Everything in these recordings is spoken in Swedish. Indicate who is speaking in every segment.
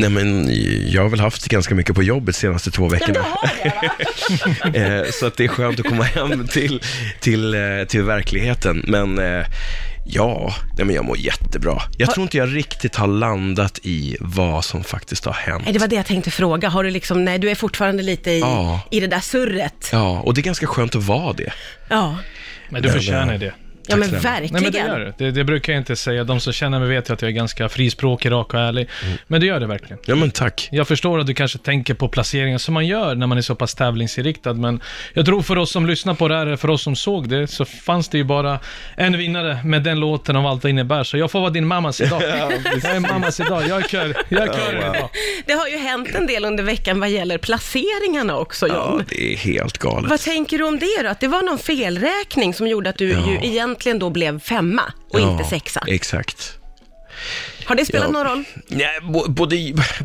Speaker 1: Nej men jag har väl haft ganska mycket på jobbet senaste två
Speaker 2: Ja, men du
Speaker 1: veckorna.
Speaker 2: har det va?
Speaker 1: Eh, så att det är skönt att komma hem till, till, eh, till verkligheten. Men eh, ja, nej, men jag mår jättebra. Jag tror inte jag riktigt har landat i vad som faktiskt har hänt.
Speaker 2: Nej, det var det jag tänkte fråga. Har du liksom, nej du är fortfarande lite i,
Speaker 1: Ja.
Speaker 2: i det där surret.
Speaker 1: Ja, och det är ganska skönt att vara det.
Speaker 2: Ja,
Speaker 3: Men du
Speaker 1: Men,
Speaker 3: förtjänar
Speaker 1: eh,
Speaker 3: det.
Speaker 2: ja men
Speaker 1: snälla.
Speaker 2: verkligen.
Speaker 3: Nej, men det gör det. det. Det brukar jag inte säga. De som känner mig vet ju att jag är ganska frispråkig, rak och ärlig. Men det gör det verkligen.
Speaker 1: Ja men tack.
Speaker 3: Jag förstår att du kanske tänker på placeringar som man gör när man är så pass tävlingsinriktad, men jag tror för oss som lyssnar på det här, eller för oss som såg det, så fanns det ju bara en vinnare med den låten och allt det innebär. Så jag får vara din mammas idag. jag är mammas idag, jag är kör, jag är kör idag.
Speaker 2: Det har ju hänt en del under veckan vad gäller placeringarna också John.
Speaker 1: Ja, det är helt galet.
Speaker 2: Vad tänker du om det då? Att det var någon felräkning som gjorde att du
Speaker 1: Ja.
Speaker 2: ju egentligen då blev femma och
Speaker 1: ja,
Speaker 2: inte sexa.
Speaker 1: Exakt.
Speaker 2: Har det spelat
Speaker 1: Ja.
Speaker 2: någon roll?
Speaker 1: Nej, bo- både,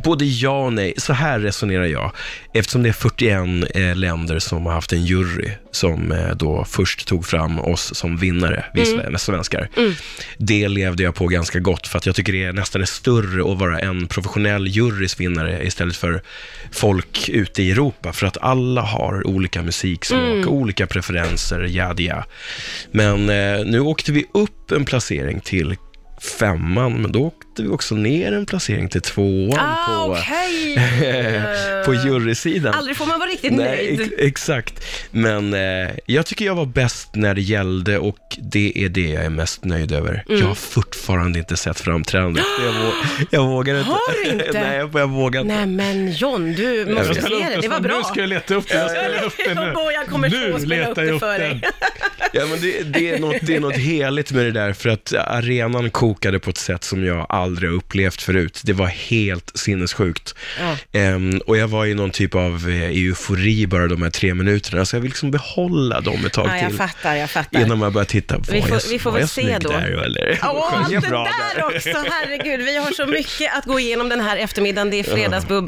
Speaker 1: både ja och nej. Så här resonerar jag. Eftersom det är 41 eh, länder som har haft en jury som eh, då först tog fram oss som vinnare, vi sve- svenskar. Det levde jag på ganska gott för att jag tycker det är nästan är större att vara en professionell jurys vinnare istället för folk ute i Europa. För att alla har olika musiksmak, olika preferenser, yada yada. Men eh, nu åkte vi upp en placering till femman, men då åkte vi också ner en placering till tvåan
Speaker 2: Ah,
Speaker 1: på,
Speaker 2: okej. Eh,
Speaker 1: på jurysidan.
Speaker 2: Aldrig får man vara riktigt
Speaker 1: Nej,
Speaker 2: nöjd.
Speaker 1: ex- exakt. Men eh, jag tycker jag var bäst när det gällde och det är det jag är mest nöjd över.
Speaker 2: Mm.
Speaker 1: Jag har fortfarande inte sett framträdandet. Jag, vå- jag vågar inte.
Speaker 2: Har du inte?
Speaker 1: Nej, jag, jag vågar inte.
Speaker 2: Nej men John, du måste
Speaker 1: vet.
Speaker 2: se det. Det var
Speaker 3: Nu
Speaker 2: bra.
Speaker 3: ska jag leta upp den, jag ska leta upp den nu.
Speaker 2: Och jag kommer så
Speaker 3: nu
Speaker 2: spela upp
Speaker 3: letar
Speaker 2: det
Speaker 3: jag upp
Speaker 2: för
Speaker 3: den.
Speaker 2: dig.
Speaker 1: Ja, men det, det, är något, det är något heligt med det där, för att arenan kokade på ett sätt som jag aldrig har upplevt förut. Det var helt sinnessjukt.
Speaker 2: Ja.
Speaker 1: Ehm, och jag var i någon typ av eh, eufori bara de här tre minuterna, så jag vill liksom behålla dem ett tag
Speaker 2: Ja, jag
Speaker 1: till.
Speaker 2: fattar, jag fattar.
Speaker 1: Innan man börjar titta, var
Speaker 2: Vi får-
Speaker 1: jag,
Speaker 2: vi får
Speaker 1: var
Speaker 2: väl
Speaker 1: jag
Speaker 2: se
Speaker 1: snygg
Speaker 2: då.
Speaker 1: där eller?
Speaker 2: Åh,
Speaker 1: Sjöng
Speaker 2: allt
Speaker 1: jag
Speaker 2: det
Speaker 1: bra
Speaker 2: där också, herregud. Vi har så mycket att gå igenom den här eftermiddagen. Det är fredagsbubbel.